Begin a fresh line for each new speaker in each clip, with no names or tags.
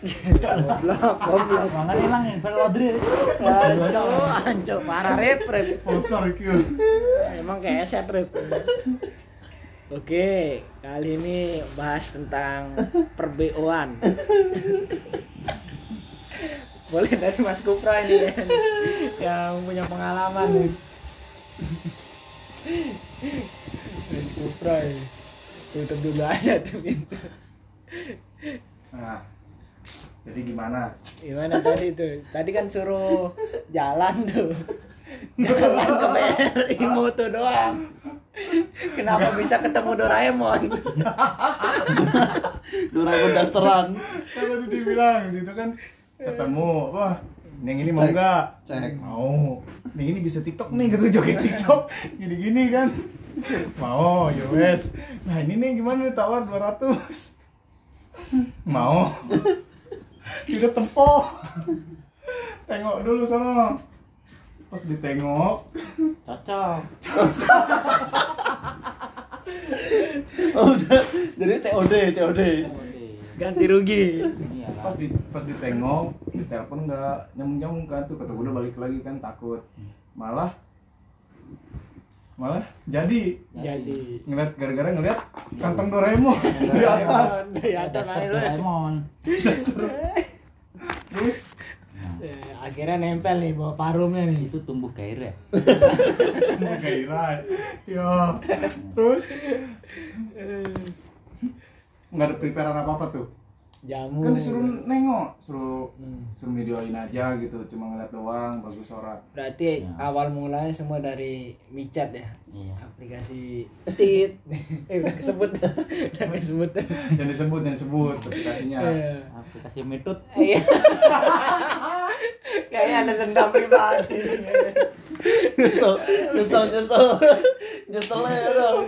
Goblok, goblok.
Mangan ilang yang Ferel Odri.
Anco, anco parah rep, rep.
Bosor iki.
Emang kayak set rep. Oke, kali ini bahas tentang perbeoan. Boleh dari Mas Kupra ini ya, yang punya pengalaman nih. Mas Kupra ini. Tutup dulu aja tuh pintu.
Nah. Jadi gimana?
Gimana tadi tuh? Tadi kan suruh jalan tuh. Jalan ke PRI Moto doang. Kenapa bisa ketemu Doraemon?
Doraemon dasteran.
Kan tadi dibilang situ kan ketemu. Wah, yang ini mau
Cek,
nggak?
cek.
Mau. Yang ini bisa TikTok nih, kata joget TikTok. Gini-gini kan. Mau, ya wes. Nah, ini nih gimana nih tawar 200. Mau. Kita tempo. Tengok dulu sono. Pas ditengok,
Cocok.
Oh, udah. Jadi COD, COD.
Ganti rugi.
Ini ya.
pas di pas ditengok ditelepon nggak nyambung nyambung kan tuh kata gue udah balik lagi kan takut malah malah jadi
Jadi
ngeliat gara-gara ngeliat kantong Doraemon di atas
Dari atas
Daster
aja lu.
Doraemon.
terus
Eh, Akhirnya nempel nih bawa parumnya nih.
Itu tumbuh ya? gairah.
mau gairah yo terus nggak ada preparean apa apa tuh
Jamu.
kan disuruh nengok suruh
Hmm.
suruh videoin aja gitu cuma ngeliat doang bagus orang
Berarti
Ya.
awal mulanya semua dari micat ya.
Iya.
Aplikasi Tit. eh udah kesebut. Udah kesebut.
jangan disebut jangan disebut aplikasinya
Iya.
Aplikasi metut.
Iya. Kayaknya ada dendam pribadi.
Nyesel, nyesel, nyesel. Nyesel ya dong.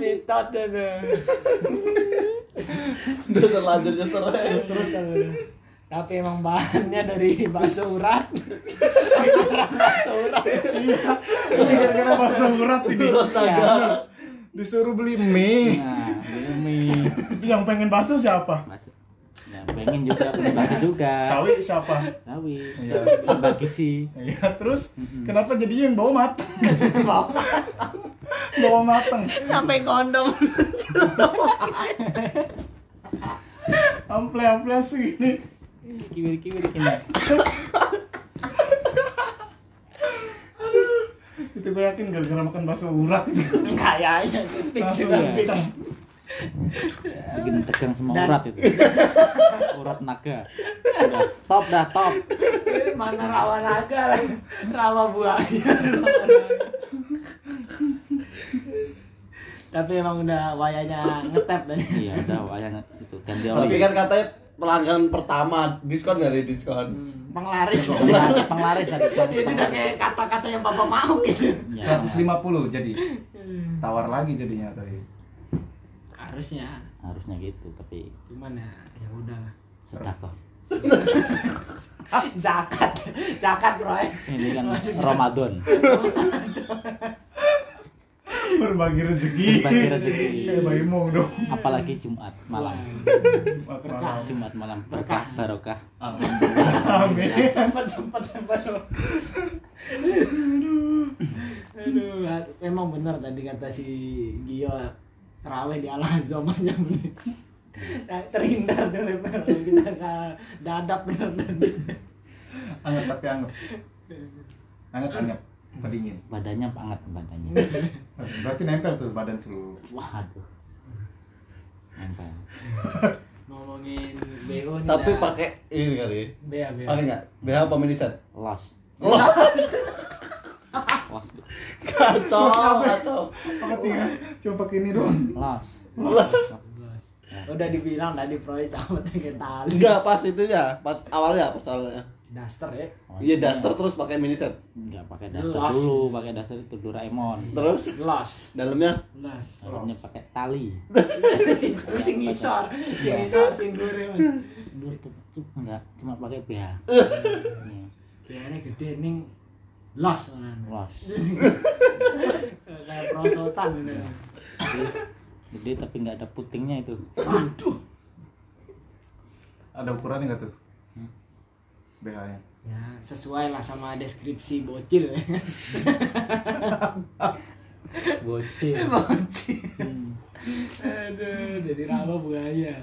Mitot deh. deh.
Udah terlanjur nyesel. ya.
Terus tapi emang bahannya dari bakso urat. bakso urat.
ini
Iya.
gara-gara bahasa urat ini
Naga.
disuruh beli mie
Nah, ini
Iya. yang pengen bakso siapa
masih. Nah, pengen juga pengen bagi juga.
sawi siapa
Sawi.
Iya.
Bagi sih.
ya terus kenapa jadinya yang bawa mateng bawa mateng
Sampai kondom.
ample ample segini
Kiwir kiwir ini.
itu gue yakin gara-gara makan bakso urat itu
Kayaknya sih
langsung
pikiran
pecah
Bikin tegang semua
Dan-
urat itu. Urat naga. Udah top dah top.
mana rawa naga lagi rawa buaya tapi emang udah wayanya ngetep dan
Iya, udah wayang itu ganti
Iya.
oli.
Tapi kan katanya pelanggan pertama diskon dari diskon.
penglaris
kan-
penglaris penglaris Iya, satu
itu udah kayak kata-kata yang bapak mau gitu
Ya.
seratus lima puluh jadi tawar lagi jadinya tadi
harusnya
harusnya gitu tapi
cuman ya ya udahlah
sedekah
Ah. zakat zakat bro
ini kan Ramadan
berbagi rezeki
Berbagi rezeki.
kayak bayi mong dong
apalagi Jumat malam
Makan
Berkah.
malam.
Jumat malam berkah barokah
amin
sempat sempat sempat aduh hat- memang benar tadi kata si Gio terawih di al azhar aja bener. Nah, terhindar dari perang kita ke dadap bener tadi
anget tapi anget anget anget kedingin
badannya banget badannya
berarti nempel tuh badan seluruh
waduh nempel
ngomongin bo nih
Tapi
dah.
pakai ini kali.
bea bea
Pakai enggak? BH apa mini set?
los los
Kacau, kacau.
apa tiga cuma pakai ini doang
los
Plus.
udah dibilang tadi ya, proyek cabut kayak tali
Enggak pas itu ya, pas awalnya, pas awalnya.
daster ya
Iya daster terus pakai mini set.
nggak pakai daster
Los.
dulu pakai daster itu Doraemon
Terus
los
dalamnya
los
Dalamnya pakai tali
terus sing ngisor sing ngisor sing gurih Mas.
dulu tuh tuh enggak cuma pakai BH Iya,
biayanya gede ning los ngono.
los
kayak prosotan gitu
gede tapi nggak ada putingnya itu
ada ukurannya nggak tuh BH nya
ya sesuai lah sama deskripsi bocil
Bocil.
bocil aduh jadi rawa buaya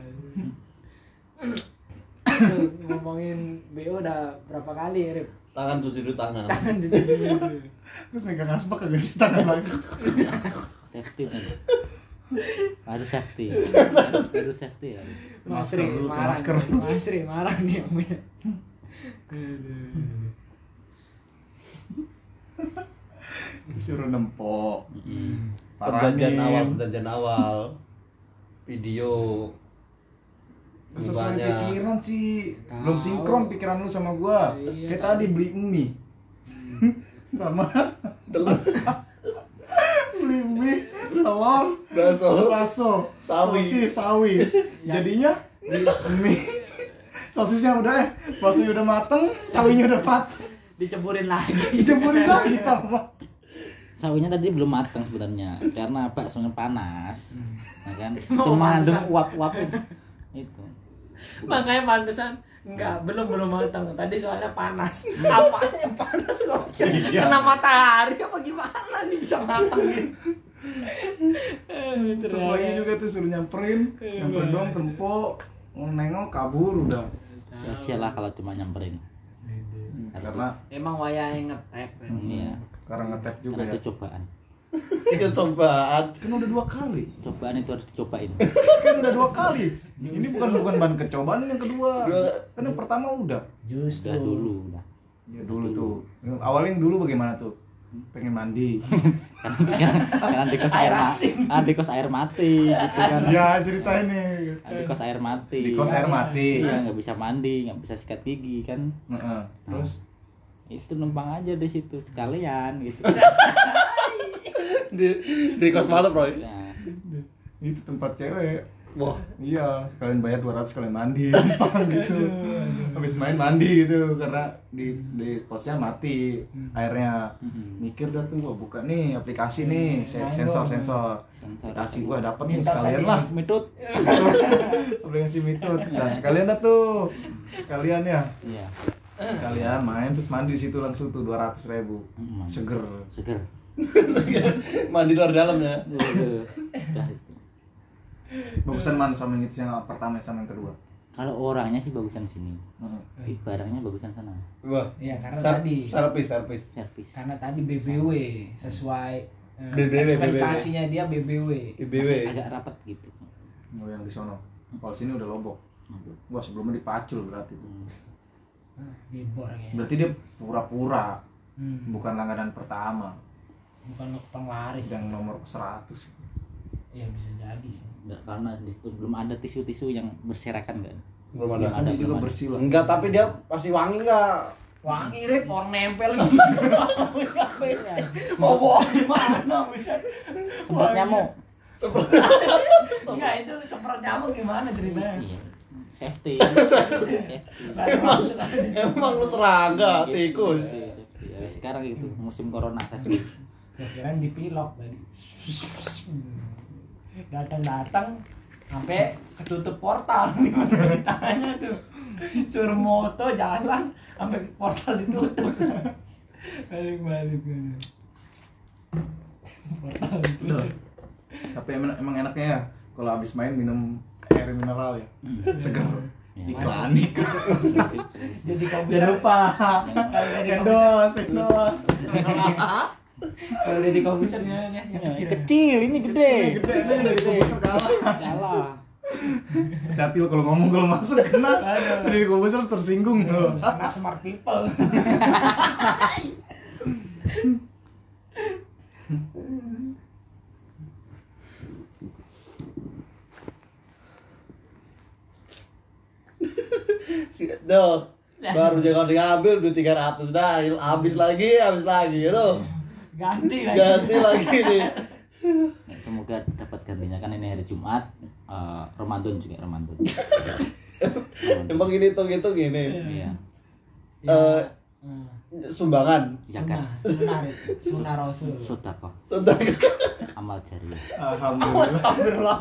Aduh, ngomongin BO udah berapa kali ya Rip?
Tangan cuci dulu tangan.
Tangan cuci dulu.
terus megang asbak kagak di tangan lagi
Safety tadi. Harus safety. Harus safety ya.
Masri
Masker dulu,
marah
masker.
nih. Masri marah nih Om. Aduh.
disuruh nempok
Perjanjian
Paranin.
awal, perjanjian awal. Video
sesuai
mukanya.
pikiran sih
Tahu.
belum sinkron pikiran lu sama gua
Iya,
kayak
tahu. Hmm.
tadi beli mie sama
telur
beli mie telur
Bakso.
bakso
Sawi.
sosis sawi jadinya mie sosisnya udah eh baksonya udah mateng sawinya udah mateng
Diceburin lagi.
dijempurin lagi sama
Sawinya tadi belum matang sebenarnya karena apa? Soalnya panas. Ya kan?
Mau
Cuma adem
pantesan.
uap-uap itu.
Makanya pantesan enggak belum belum matang. Tadi soalnya panas. Apanya panas kok?
Iya.
Kena matahari apa gimana nih bisa matang gitu.
terus lagi juga tuh suruh nyamperin nyamperin dong tempok mau nengok kabur udah
Sia-sia lah kalau cuma nyamperin.
karena
Emang wayang ngetep.
Iya.
karena ngetep juga ya
Karena itu cobaan.
Itu cobaan.
kan udah dua kali
Cobaan itu harus dicobain.
kan udah dua kali ini bukan bukan bahan kecobaan ini yang kedua
Dua.
kan yang pertama udah
Sudah dulu udah.
ya dulu tuh awalnya yang dulu bagaimana tuh pengen mandi
Karena karena di kos air mati. Ah, di kos air mati gitu kan.
ya ceritain nih
Ah, Di kos air mati.
di kos air mati
Iya, nggak bisa mandi, nggak bisa sikat gigi kan.
Heeh. terus
Itu numpang aja di situ sekalian gitu.
Di, di kos mana, Bro?
Nah,
itu tempat cewek
Wah,
Iya, sekalian bayar 200 sekalian mandi gitu. Habis main mandi gitu karena di di kosnya mati airnya. Mikir dah tuh gua buka nih aplikasi nih, se- sensor sensor.
Sensor.
Aplikasi gua dapet nih sekalian lah.
mitut.
aplikasi mitut. Nah, sekalian dah tuh. Sekalian ya.
Iya.
Sekalian main terus mandi di situ langsung tuh 200 ribu
Mm.
Seger.
Seger.
mandi luar dalam ya.
Udah.
Bagusan mana sama yang itu yang pertama sama yang kedua? Hmm.
Kalau orangnya sih bagusan sini.
Heeh.
Tapi barangnya bagusan sana.
Wah.
Iya, karena
Sar-
tadi.
Servis, servis.
Servis.
karena tadi BBW sesuai eh,
BBW.
ekspektasinya dia BBW
Iya.
Masih
IBW.
agak rapat gitu.
Mau yang di sono. Nah, Kalau sini udah lobok. Gua sebelumnya dipacul berarti tuh.
Bibor ya
Berarti dia pura-pura,
Hmm.
bukan langganan pertama
bukan lo penglaris
yang nomor 100.
ya bisa jadi sih
Nggak, karena di situ belum ada tisu-tisu yang berserakan kan.
Belum
Ya,
ada.
kan dia
belum
juga
ada.
bersih lah.
Enggak, tapi dia pasti wangi enggak?
wangi rip orang nempel mau bawa gimana bisa
Semprot nyamuk.
enggak Iya, itu semprot nyamuk gimana ceritanya
Iya. Nah, Safety. Safety.
Emang sengaja.
Emang lu serangga, Nah,
Gitu,
tikus.
safety, safety. Ya, sekarang gitu musim corona safety.
kira dipilok tadi datang datang sampai ketutup portal gimana ceritanya tuh suruh moto jalan sampai portal ditutup balik balik balik. portal ditutup
Tapi emang, emang enaknya ya kalau habis main minum air mineral ya. Seger. Iklan iklan.
jadi kau bisa
Jangan lupa.
Jangan.
Endos, endos.
kalau jadi kau bisa nih yang
Iya,
kecil
Kecil ini gede.
Gede ini dari komputer kalah.
Kalah.
Hati lo kalau ngomong kalau masuk kena. Dari komputer tersinggung lo.
karena Nah, smart people
Si- Duh. Baru aja kalau diambil udah 300 dah, il- habis lagi, habis lagi. Aduh.
ganti lagi
Ganti lagi nih.
Ya, semoga dapat gantinya kan ini hari Jumat. eh, Ramadan juga Ramadan. Ramadan.
Emang ini hitung-hitung gini.
Iya.
Eh,
Hmm.
sumbangan.
Zakat.
Sunnah, sunnah, Rip. sunnah rasul.
Sedekah.
Sedang
Amal jariah.
Alhamdulillah.
Astagfirullah.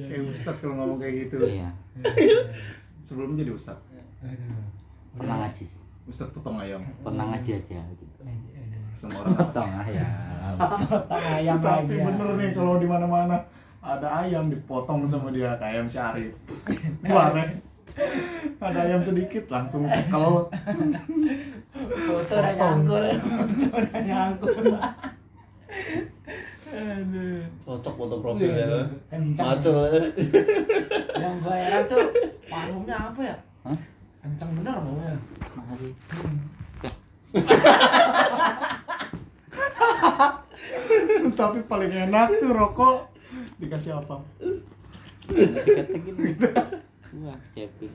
kayak ustad kalau ngomong kayak gitu
Iya.
sebelum jadi ustad
Pernah ngaji. sih.
ustad potong ayam
Pernah ngaji aja gitu.
semua orang
Potong ayam.
Potong ayam
tapi
lagi ya.
bener nih kalau di mana mana ada ayam dipotong sama dia kayak ayam syarif Warnet. ada ayam sedikit langsung kalau
Foto udah
Potong.
nyangkut. Foto udah nyangkut. Aduh.
Cocok foto profilnya.
Iya,
lo.
kencang.
ya. Macul. ya. lo.
Yang gue heran tuh parfumnya apa ya?
Hah?
Kencang bener ya. baunya.
Makasih.
tapi paling enak tuh rokok dikasih apa
Dikata gini. Wah, cepet.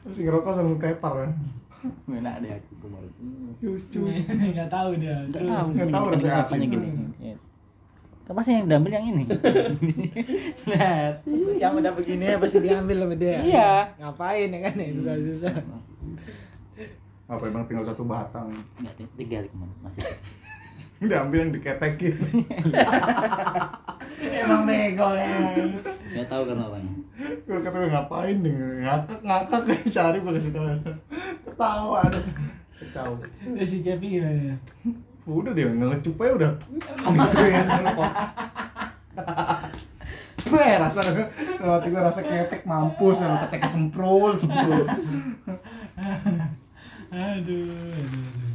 terus ngerokok sambil tepar kan
Enak deh aku kemarin.
cus cus
Nggak tahu dia.
Enggak
Terus
tahu.
nggak tahu
Ini
rasanya
apanya
asin.
gini. Iya. Kenapa sih yang diambil yang ini? Nah,
yang udah begini ya pasti diambil sama dia.
Iya.
Ngapain ya kan ya susah-susah.
apa emang tinggal satu batang
Enggak, tiga kemarin masih.
diambil yang diketekin
Emang bego ya.
Enggak tahu kan orangnya.
gue kata "Lu ngapain nih ngakak ngakak kayak syarif gue kasih tau ketawa ada kacau
Terus si Cepi gimana?
udah dia ngelecup aja udah gitu ya ngerokok. Weh, ya rasa waktu gue rasa ketek mampus dan ketek semprul semprul
Aduh, aduh, aduh.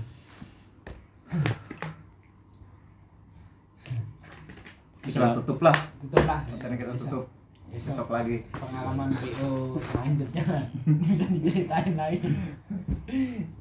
bisa lah tutup lah
Tutup lah.
karena kita
Bisa.
tutup
Besok.
besok lagi
pengalaman PO selanjutnya lah. bisa diceritain lagi